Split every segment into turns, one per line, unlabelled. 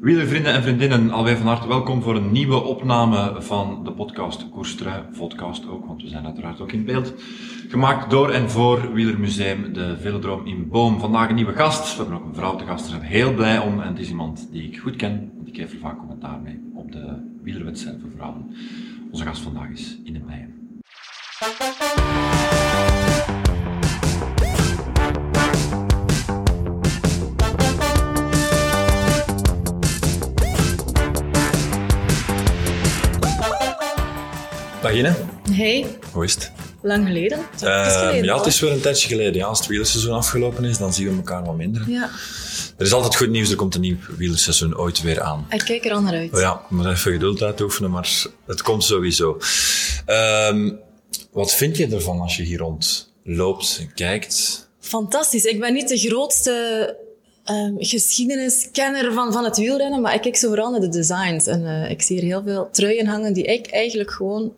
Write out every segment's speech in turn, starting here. Wielervrienden en vriendinnen, alweer van harte welkom voor een nieuwe opname van de podcast Koerstrui, podcast ook, want we zijn uiteraard ook in beeld. Gemaakt door en voor Wielermuseum De Velodroom in Boom. Vandaag een nieuwe gast, we hebben ook een vrouw te gast, daar zijn we heel blij om. En het is iemand die ik goed ken, want ik geef er vaak commentaar mee op de wielerwedstrijd voor vrouwen. Onze gast vandaag is Ine Meijer.
Dag Ine,
Hey,
hoe is het?
lang geleden. Het is
Eh,
geleden
ja,
al.
het is weer een tijdje geleden. Ja. Als het wielerseizoen afgelopen is, dan zien we elkaar wat minder.
Ja,
Er is altijd goed nieuws, er komt een nieuw wielerseizoen ooit weer aan.
ik kijk er al naar uit.
Maar Ja, ik moet even geduld uitoefenen, maar het komt sowieso. Ehm, wat vind je ervan als je hier rond loopt en kijkt?
Fantastisch. Ik ben niet de grootste ehm, geschiedeniskenner van, van het wielrennen, maar ik kijk zo vooral naar de designs. En eh, ik zie hier heel veel truien hangen die ik eigenlijk gewoon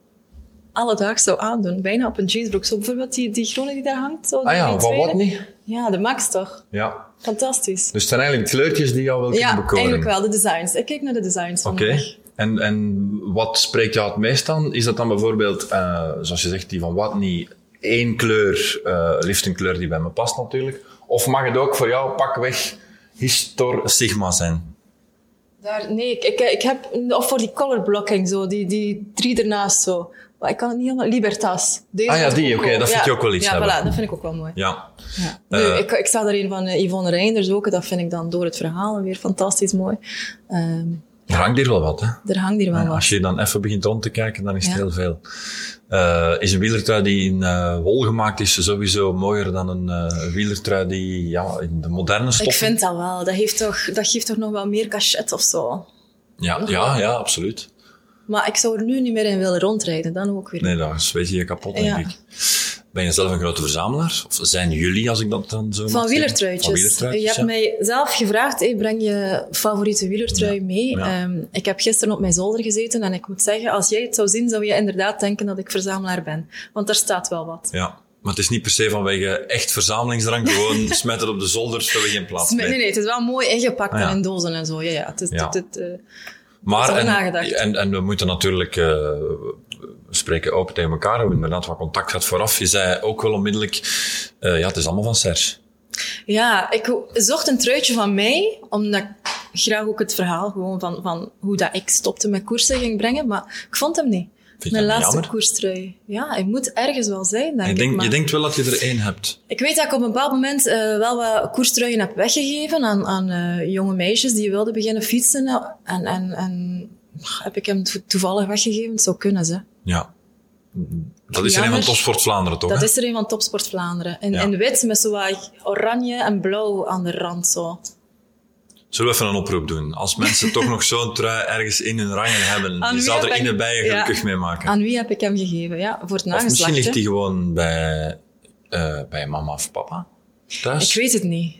alledaags zou aandoen. Bijna op een jeansbroek. Zo bijvoorbeeld die, die groene die daar hangt. Zo,
Ah
die-
ja,
die
van
tweede.
wat niet?
Ja, de Max toch.
Ja.
Fantastisch.
Dus het zijn eigenlijk kleurtjes die jou wel kunnen
ja,
bekoren.
eigenlijk wel. De designs. Ik kijk naar de designs van
Oké. En, en wat spreekt jou het meest aan? Is dat dan bijvoorbeeld, eh, zoals je zegt, die van
Ah,
Watney, één kleur, eh liefst een kleur die bij me past natuurlijk? Of mag het ook voor jou pakweg Histor Sigma zijn?
Daar, nee, ik, ik, ik heb... Of voor die color blocking zo, die, die drie ernaast zo. Maar ik kan het niet helemaal... Libertas. Deze
Ah ja,
vind ik
die,
ook
oké,
wel-
dat vind
ja,
je ook wel iets
Ja,
hebben.
voilà, dat vind ik ook wel mooi.
Ja.
Ja.
Eh.
nu, ik, ik zag daar een van eh, Yvonne Reinders ook. Dat vind ik dan door het verhaal weer fantastisch mooi. Ehm,
Er hangt hier wel wat, hè?
er hangt hier wel wat.
Als je dan even begint rond te kijken, dan is het
Ja.
heel veel. Eh, is een wielertrui die in eh, wol gemaakt is sowieso mooier dan een eh, wielertrui die ja, in de moderne stof
Ik vind dat wel. Dat, heeft toch, dat geeft toch nog wel meer cachet of zo.
Ja, ja,
Oh.
ja, absoluut.
Maar ik zou er nu niet meer in willen rondrijden. Dan ook weer.
Nee, dan zweet je je kapot, denk
Ja.
ik. Ben je zelf een grote verzamelaar? Of zijn jullie, als ik dat dan zo
Van
mag zeggen?
wielertruitjes.
Van wielertruitjes,
je hebt
ja.
mij zelf gevraagd, hey, breng je favoriete wielertrui mee?
Ja.
Ehm, ik heb gisteren op mijn zolder gezeten en ik moet zeggen, als jij het zou zien, zou je inderdaad denken dat ik verzamelaar ben. Want daar staat wel wat.
Ja, maar het is niet per se vanwege echt verzamelingsdrang. Gewoon smet het op de zolder, zodat we geen plaats
Nee,
meer.
nee, nee, het is wel mooi ingepakt
Ah, ja.
en in dozen en zo. Ja, ja, het is,
Ja.
het- het, eh,
Maar,
Dat is wel
en,
nagedacht.
en, en we moeten natuurlijk eh, we spreken open tegen elkaar. We hebben inderdaad wat contact gehad vooraf. Je zei ook wel onmiddellijk, eh, ja, het is allemaal van Serge.
Ja, ik ho- zocht een truitje van mij, omdat ik graag ook het verhaal gewoon van, van hoe dat ik stopte met koersen ging brengen, maar ik vond hem niet.
je
Mijn
dat niet
laatste
jammer?
koerstrui. Ja, hij moet ergens wel zijn, denk
je,
ik.
denkt,
maar-
je denkt wel dat je er één hebt.
Ik weet dat ik op een bepaald moment eh, wel wat koerstruien heb weggegeven aan, aan eh, jonge meisjes die wilden beginnen fietsen. Nou, En, en, en ach, heb ik hem to- toevallig weggegeven? Het zou kunnen,
Oh.
ze.
Ja. Dat is er een
Jammer.
van Topsport Vlaanderen, toch?
Dat
hè?
is er een van Topsport Vlaanderen. In,
Ja.
in wit met zo wat oranje en blauw aan de rand. Zo.
Zullen we even een oproep doen? Als mensen toch nog zo'n trui ergens in hun rangen hebben,
Aan
je
wie
zou er
heb ik-
in bijen
Ja.
gelukkig mee maken.
Aan wie heb ik hem gegeven? Ja, voor het
of misschien
nageslachtje.
ligt die gewoon bij, eh, bij mama of papa thuis.
Ik weet het niet.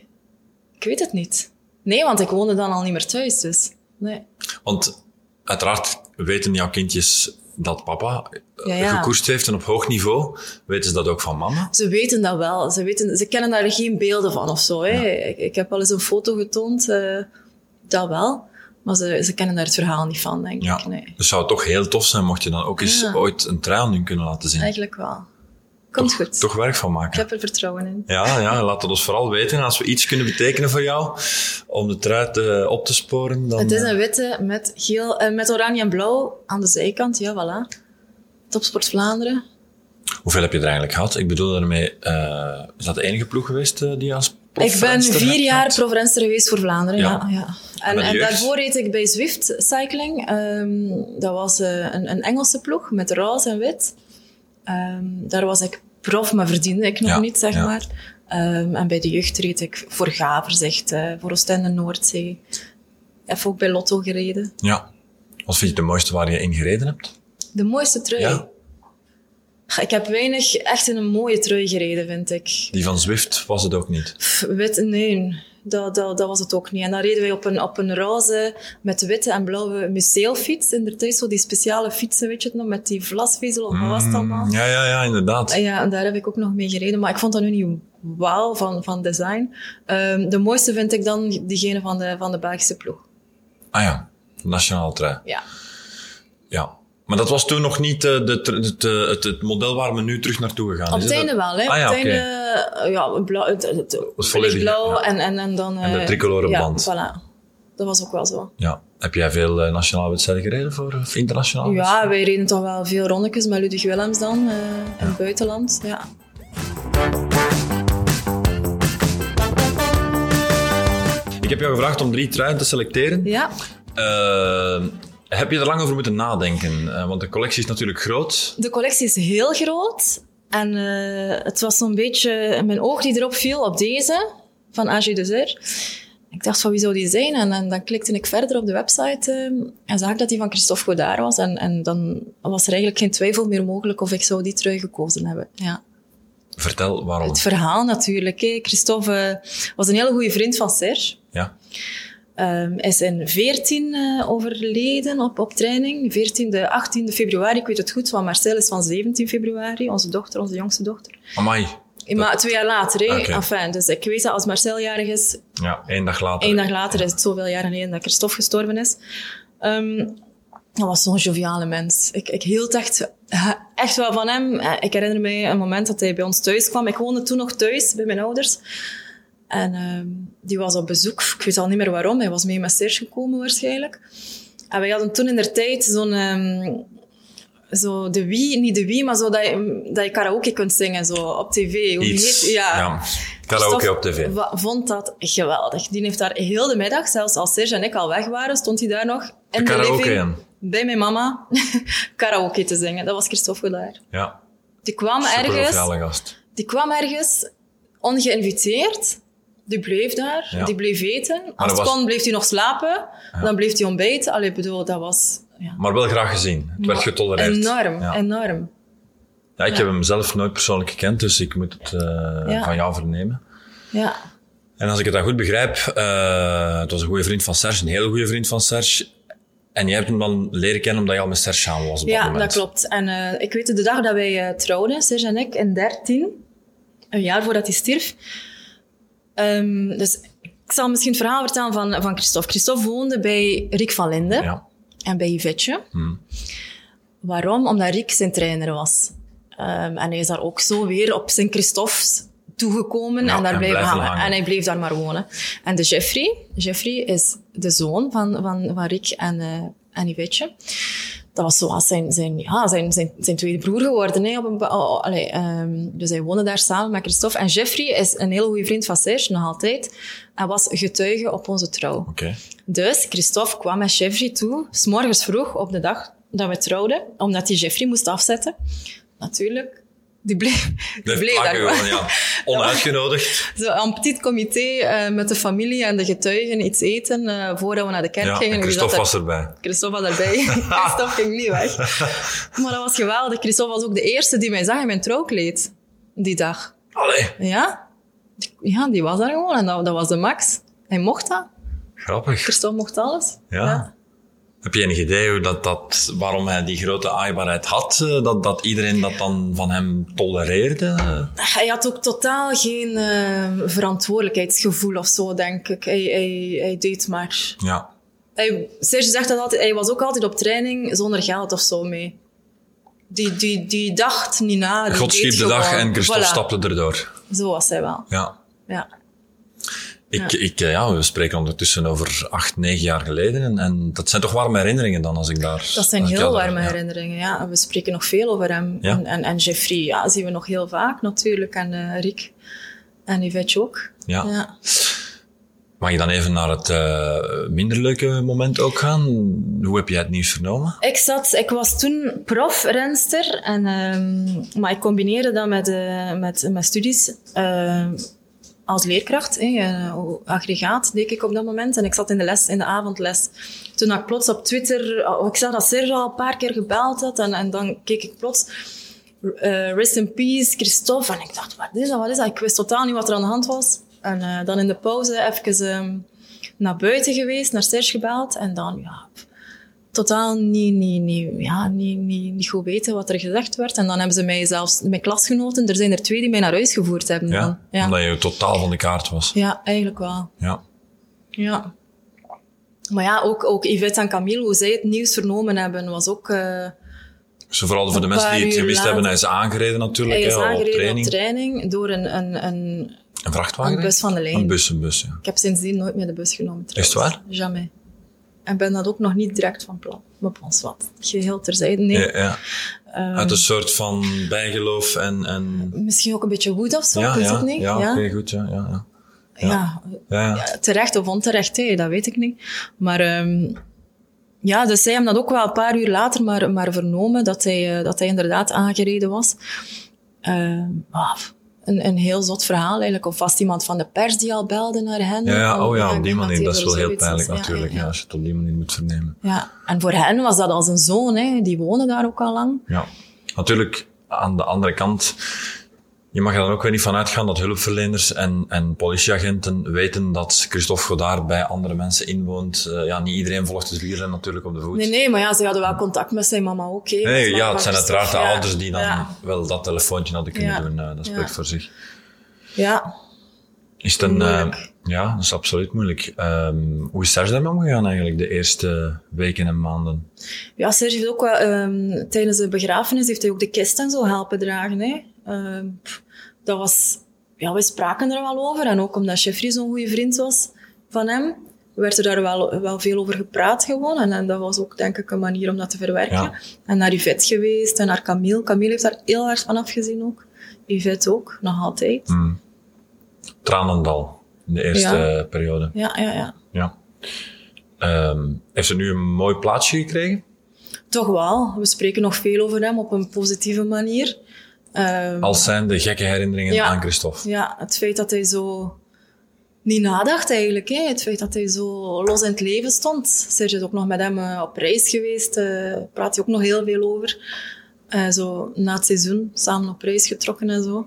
Ik weet het niet. Nee, want ik woonde dan al niet meer thuis, dus... Nee.
Want uiteraard weten jouw kindjes dat papa eh,
Ja, ja.
gekoerst heeft en op hoog niveau. Weten ze dat ook van mama?
Ze weten dat wel. Ze, weten, ze kennen daar geen beelden van of zo. Hè. Ik, ik heb wel eens een foto getoond, eh, dat wel. Maar ze, ze kennen daar het verhaal niet van, denk
Ja.
ik. Nee.
Dus zou het toch heel tof zijn mocht je dan ook eens
Ja.
ooit een trui aan hun kunnen laten zien.
Eigenlijk wel. Komt goed.
Toch werk van maken.
Ik heb er vertrouwen in.
Ja, ja, laat het ons vooral weten. En Als we iets kunnen betekenen voor jou om de trui te- op te sporen, dan...
Het is
eh,
een witte met, geel, eh, met oranje en blauw aan de zijkant. Ja, voilà. Topsport Vlaanderen.
Hoeveel heb je er eigenlijk gehad? Ik bedoel daarmee, eh, is dat de enige ploeg geweest eh, die je als
Ik ben
profrenster
vier
hebt
jaar
gehad?
provenster geweest voor Vlaanderen.
Ja.
Ja. Ja, En,
Met
en
jeugd?
daarvoor reed ik bij Zwift Cycling. Ehm, dat was eh, een, een Engelse ploeg met roze en wit. Ehm, daar was ik prof, maar verdiende ik nog
Ja,
niet, zeg
ja.
maar. Ehm, en bij de jeugd reed ik voor Gaverzicht, eh voor Oostende Noordzee. Even ook bij Lotto gereden.
Ja. Wat vind je de mooiste waar je in gereden hebt?
De mooiste trui.
Ja.
Ik heb weinig echt in een mooie trui gereden, vind ik.
Die van Zwift was het ook niet.
Pff, Wit, nee, dat, dat, dat was het ook niet. En dan reden wij op een, op een roze met witte en blauwe museelfiets. Inderdaad, zo die speciale fietsen, weet je het nog, met die vlasvezel of wat was dat allemaal.
Mm, ja, ja, ja, inderdaad.
En ja, en daar heb ik ook nog mee gereden, maar ik vond dat nu niet wauw van, van design. Ehm, de mooiste vind ik dan diegene van de, van de Belgische ploeg.
Ah ja, nationaal trein.
Ja.
Ja. Maar dat was toen nog niet eh, de, tr- het, eh, het, het model waar we nu terug naartoe gegaan
Op
is.
het
hè?
einde
Dat-
wel, hè.
Ah ja,
op het
oké.
einde, eh, ja, blauw, het, het, het
volledige,
blauw
ja.
en, en, en dan...
En de
eh,
tricoloren
ja,
band.
voilà. Dat was ook wel zo.
Ja. Heb jij veel eh, nationale wedstrijden gereden voor eh, internationaal?
Ja, wij reden toch wel veel rondetjes met Ludwig Willems dan, eh, in het buitenland. Ja.
Ik heb jou gevraagd om drie treinen te selecteren.
ja.
Eh, heb je er lang over moeten nadenken? Eh, want de collectie is natuurlijk groot.
De collectie is heel groot. En eh, het was zo'n beetje mijn oog die erop viel op deze van AG Deser. Ik dacht van wie zou die zijn? En, en dan klikte ik verder op de website eh, en zag ik dat die van Christophe Godard was. En, en dan was er eigenlijk geen twijfel meer mogelijk of ik zou die trui gekozen hebben. Ja.
Vertel waarom.
Het verhaal natuurlijk. Hè. Christophe eh, was een hele goede vriend van Serge.
Ja.
Ehm, hij is in 14 eh, overleden op, op training. 14e, 18e februari, ik weet het goed, want Marcel is van 17 februari, onze dochter, onze jongste dochter.
Amai.
Maar twee jaar later, hè.
Oké.
Enfin, dus ik weet dat als Marcel jarig is,
Ja, één dag later.
één dag later is het zoveel jaar geleden dat Christophe gestorven is. Ehm dat was zo'n joviale mens. Ik, ik hield echt, eh, echt wel van hem. Eh, Ik herinner mij een moment dat hij bij ons thuis kwam. Ik woonde toen nog thuis bij mijn ouders. En ehm, die was op bezoek. Ik weet al niet meer waarom. Hij was mee met Serge gekomen waarschijnlijk. En wij hadden toen in der tijd zo'n... ehm, zo de wie, niet de wie, maar zo dat je, dat je karaoke kunt zingen zo op tv. Hoe die
Iets.
heet-
Ja. Karaoke
Christophe
op tv.
wa- vond dat geweldig. Die heeft daar heel de middag, zelfs als Serge en ik al weg waren, stond hij daar nog in de,
karaoke
living
in.
bij mijn mama karaoke te zingen. Dat was Christophe Goulaert.
Ja.
Die kwam ergens,
Superlofiale gast.
die kwam ergens ongeïnviteerd. Die bleef daar,
Ja.
die bleef eten. Als
dat
het
was-
kon, bleef hij nog slapen. Dan bleef hij ontbijten. Allee, ik bedoel, dat was... Ja.
Maar wel graag gezien. Het werd getolereerd.
Enorm,
Ja.
enorm.
Ja, ik heb hem zelf nooit persoonlijk gekend, dus ik moet het eh,
Ja.
van jou vernemen.
Ja.
En als ik het dan goed begrijp, eh, het was een goede vriend van Serge, een heel goede vriend van Serge. En jij hebt hem dan leren kennen omdat je al met Serge samen was op dat
Ja,
moment.
dat klopt. En eh, ik weet de dag dat wij eh, trouwden, Serge en ik, in 13, een jaar voordat hij stierf. Ehm, dus ik zal misschien het verhaal vertellen van, van Christophe. Christophe woonde bij Rick van Linden
Ja.
en bij Yvetje.
Hmm.
Waarom? Omdat Rick zijn trainer was. Ehm, en hij is daar ook zo weer op Sint Christoffs toegekomen
Ja,
en daar
en
blijven
blijven
hangen.
hangen.
En hij bleef daar maar wonen. En de Jeffrey, Jeffrey is de zoon van, van, van Rick en, eh en Yvetje. Dat was zoals zijn, zijn, ja, zijn, zijn, zijn tweede broer geworden. Hè, op een, bepa- oh, oh, allee, ehm, dus hij woonde daar samen met Christophe. En Jeffrey is een hele goede vriend van Serge, nog altijd. En was getuige op onze trouw.
Oké.
Dus Christophe kwam met Jeffrey toe, s'morgens vroeg op de dag dat we trouwden, omdat hij Jeffrey moest afzetten. Natuurlijk, die bleef, die
Blijf
bleef daar
plakken gewoon,
gewoon.
ja. Onuitgenodigd.
Zo, een petit comité eh, met de familie en de getuigen iets eten eh, voordat we naar de kerk
Ja,
gingen.
en
Dus
Christophe
dat-
was erbij.
Christophe was erbij. Christophe ging niet weg. Maar dat was geweldig. Christophe was ook de eerste die mij zag in mijn trouwkleed die dag.
Allee,
Ja, ja die was daar gewoon en dat, dat was de max. Hij mocht dat.
grappig.
Christophe mocht alles.
Ja. Heb je enig idee hoe dat, dat, waarom hij die grote aaibaarheid had? eh, Dat, dat iedereen dat dan van hem tolereerde?
Hij had ook totaal geen eh, verantwoordelijkheidsgevoel of zo, denk ik. Hij, hij, hij deed maar.
Ja.
Hij, Serge zegt dat altijd, hij was ook altijd op training zonder geld of zo mee. Die, die, die dacht niet na. die
God
deed
schiep de dag
gewoon.
en Christophe
Voilà,
stapte erdoor.
Zo was hij wel,
Ja.
ja.
Ik, Ik, eh, ja, we spreken ondertussen over acht, negen jaar geleden. En, en dat zijn toch warme herinneringen dan, als ik daar...
Dat zijn
als ik
heel
jou daar-
warme
Ah, ja.
herinneringen, ja. En We spreken nog veel over hem.
Ja.
En, en, en Jeffrey, ja, zien we nog heel vaak natuurlijk. En eh Rick en Yvette ook.
Ja.
ja.
Mag je dan even naar het eh, minder leuke moment ook gaan? Hoe heb jij het nieuws vernomen?
Ik, zat, ik was toen profrenster, en, ehm, maar ik combineerde dat met, eh, met mijn studies ehm, als leerkracht. hè, eh, aggregaat deed ik op dat moment. En ik zat in de les, in de avondles. Toen had ik plots op Twitter, oh, ik zag dat Serge al een paar keer gebeld had. En, en dan keek ik plots, eh, rest in peace, Christophe. En ik dacht, wat is dat, wat is dat? Ik wist totaal niet wat er aan de hand was. En eh, dan in de pauze even ehm, naar buiten geweest, naar Serge gebeld. En dan, ja, totaal niet, niet, niet, ja, niet, niet, niet goed weten wat er gezegd werd. En dan hebben ze mij zelfs, mijn klasgenoten, er zijn er twee die mij naar huis gevoerd hebben. dan.
Ja?
Ja.
Omdat je totaal van de kaart was.
ja, eigenlijk wel.
Ja.
Ja. Maar ja, ook, ook Yvette en Camille, hoe zij het nieuws vernomen hebben, was ook... eh
Dus vooral voor de
Een
mensen die
paar
het
uur
gemist
later.
hebben, hij is aangereden natuurlijk.
hij is
hè, op
aangereden
training.
op training door een, een, een...
een vrachtwagen?
Een bus van de lijn.
Een bus, een bus, ja.
Ik heb sindsdien nooit meer de bus genomen. trouwens.
Is het
Jamais. En ben dat ook nog niet direct van plan. Maar pas wat. Geheel terzijde. Nee.
ja, ja.
Ehm,
Eh, Uit een soort van bijgeloof en... en...
Misschien ook een beetje woed of zo,
ja,
ik weet
ja,
het niet.
ja,
ja.
oké, goed, ja, ja, ja.
Ja,
ja, ja.
ja, terecht of onterecht, hè, dat weet ik niet. Maar ehm, ja, dus zij hebben dat ook wel een paar uur later maar, maar vernomen, dat hij, eh, dat hij inderdaad aangereden was. Ehm, ah, een, een heel zot verhaal eigenlijk. Of was het iemand van de pers die al belde naar hen?
Ja, ja,
Van,
oh ja, op die
ik denk
manier.
hij
Dat is
voor
wel heel
zoiets is.
pijnlijk
Ja,
natuurlijk,
ja,
ja,
ja.
als je het op die manier moet vernemen.
Ja, en voor hen was dat als een zoon, hè. die wonen daar ook al lang.
Ja. Natuurlijk, aan de andere kant, je mag er dan ook weer niet van uitgaan dat hulpverleners en, en politieagenten weten dat Christophe Godard bij andere mensen inwoont. Eh, ja, niet iedereen volgt het wielrennen natuurlijk op de voet.
Nee, nee, maar ja, ze hadden wel contact met zijn mama ook. hè.
Nee,
Dus
ja,
maar-
het zijn uiteraard de
Ja,
ouders die dan
Ja,
wel dat telefoontje hadden kunnen
Ja.
doen. eh, dat spreekt
Ja.
voor zich.
ja.
Is het een,
Moeilijk.
eh, ja, dat is absoluut moeilijk. Ehm, hoe is Serge daarmee omgegaan eigenlijk de eerste weken en maanden?
Ja, Serge heeft ook wel, ehm, tijdens de begrafenis heeft hij ook de kist en zo helpen dragen. Hè. Ehm, pff, dat was, ja, we spraken er wel over. En ook omdat Jeffrey zo'n goede vriend was van hem, werd er daar wel, wel veel over gepraat gewoon. En, en dat was ook denk ik een manier om dat te verwerken.
Ja.
En naar Yvette geweest en naar Camille. Camille heeft daar heel hard van afgezien ook. Yvette ook, nog altijd.
Hm. Tranendal in de eerste
Ja.
periode.
Ja, ja, ja.
Ja. Ehm, heeft ze nu een mooi plaatsje gekregen?
Toch wel. We spreken nog veel over hem op een positieve manier. Ehm,
Als zijn de gekke herinneringen
Ja.
aan Christophe.
Ja, het feit dat hij zo niet nadacht eigenlijk. Hè. Het feit dat hij zo los in het leven stond. Serge is ook nog met hem eh, op reis geweest. eh praat hij ook nog heel veel over. Eh, zo na het seizoen samen op reis getrokken en zo.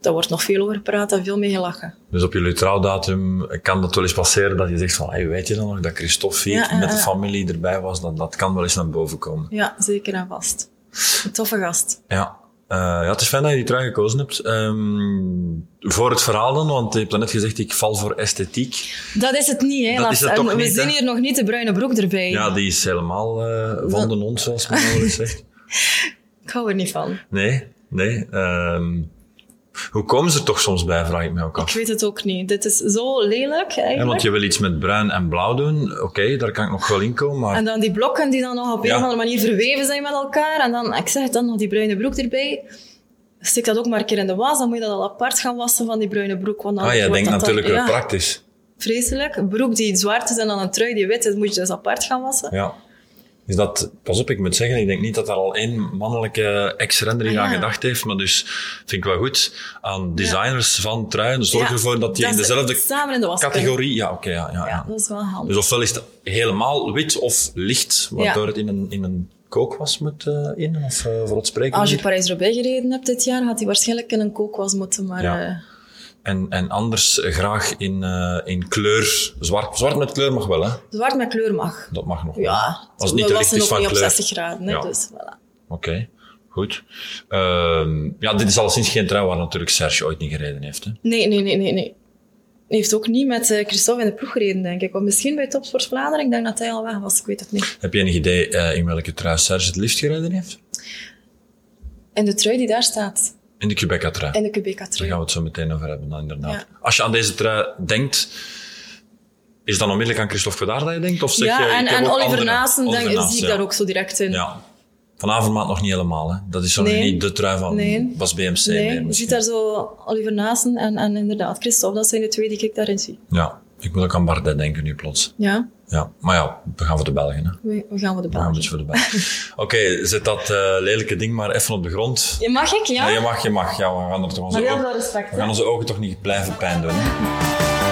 Daar wordt nog veel over gepraat en veel mee gelachen.
Dus op jullie trouwdatum kan dat wel eens passeren dat je zegt van, hey, weet je dan nog dat Christophe hier
Ja, ja,
met de
ja.
familie erbij was? Dat, dat kan wel eens naar boven komen.
Ja, zeker en vast. Een toffe gast.
Ja. Eh, ja, het is fijn dat je die trui gekozen hebt. Ehm, voor het verhaal dan, want je hebt net gezegd, ik val voor esthetiek.
Dat is het niet, hè?
Dat is het
En
toch
we
niet,
zien
hè?
hier nog niet de bruine broek erbij.
Ja, die is helemaal eh van de ons, zoals men wel eens zegt.
Ik hou er niet van.
Nee, nee. ehm, hoe komen ze er toch soms bij, vraag ik me ook af.
Ik weet het ook niet. Dit is zo lelijk eigenlijk.
Ja, want je wil iets met bruin en blauw doen. Oké, daar kan ik nog wel in komen, maar
En dan die blokken die dan nog op
Ah. Ja.
een of andere manier verweven zijn met elkaar. En dan, ik zeg het, dan nog die bruine broek erbij. Steek dat ook maar een keer in de was. Dan moet je dat al apart gaan wassen van die bruine broek. Want dan
ah, jij
wordt
denkt
dat dan-
natuurlijk weer
ja,
praktisch.
Vreselijk. Een broek die zwart is en dan een trui die wit is, moet je dus apart gaan wassen.
Ja. Is dat, pas op, ik moet zeggen, ik denk niet dat daar al één mannelijke ex-render hier
Ah,
aan
ja.
gedacht heeft, maar dus vind ik wel goed aan designers van truien. Dus Zorg
Ja,
ervoor dat die in
ze
dezelfde
Samen in de was kunnen.
categorie. Ja, oké, ja, ja,
Ja,
ja.
dat is wel handig.
Dus ofwel is het helemaal wit of licht, waardoor het in een, in een kookwas moet eh, in, of eh, voor het spreken.
Als je Parijs-Roubaix gereden hebt dit jaar, had hij waarschijnlijk in een kookwas moeten. Maar
Ja.
eh,
En, en anders eh, graag in, eh, in kleur. Zwart, zwart met kleur mag wel, hè?
zwart met kleur mag.
Dat mag nog. wel.
Ja,
Als het niet te
we
licht
wassen
is
ook
van
niet op
kleur.
60 graden. hè,
Ja.
Dus, voilà.
Oké, goed. Ehm, ja, dit is alleszins geen trui waar natuurlijk Serge ooit niet gereden heeft. Hè?
Nee, nee, nee, nee, nee. Hij heeft ook niet met eh, Christophe in de ploeg gereden, denk ik. Of misschien bij Topsport Vlaanderen. Ik denk dat hij al weg was. Ik weet het niet.
Heb je enig idee eh, in welke trui Serge het liefst gereden heeft?
En de trui die daar staat.
In de Quebec-trui.
En de Quebec
Daar
trui.
gaan we het zo meteen over hebben, dan, inderdaad.
Eh, Ja.
Als je aan deze trui denkt, is dan onmiddellijk aan Christophe Godard dat je denkt? Of zeg je,
Ja,
eh, ik
en,
heb
en
ook
Oliver
andere-
Naassen
Oliver
denk, ik,
Naassen,
zie ik
ja.
daar ook zo direct in.
Ja. Vanavond maand nog niet helemaal. Hè. Dat is zo nog
Nee.
niet de trui van
Nee.
was BMC. meer
nee, je
misschien.
ziet daar zo Oliver Naassen en, en inderdaad Christophe. Dat zijn de twee die ik daarin zie.
Ja, ik moet ook aan Bardet denken nu plots.
Ja,
Ja. Maar ja, we gaan voor de Belgen. Hè.
we, we gaan voor de
We gaan een
baan.
beetje voor de Belgen. Oké, zet dat eh, lelijke ding maar even op de grond.
Je mag ik, ja?
Ja, je mag, je mag. Ja, we gaan er toch onze
Maar heel
ogen-
veel respect,
We gaan
hè?
onze ogen toch niet blijven pijn doen. hè?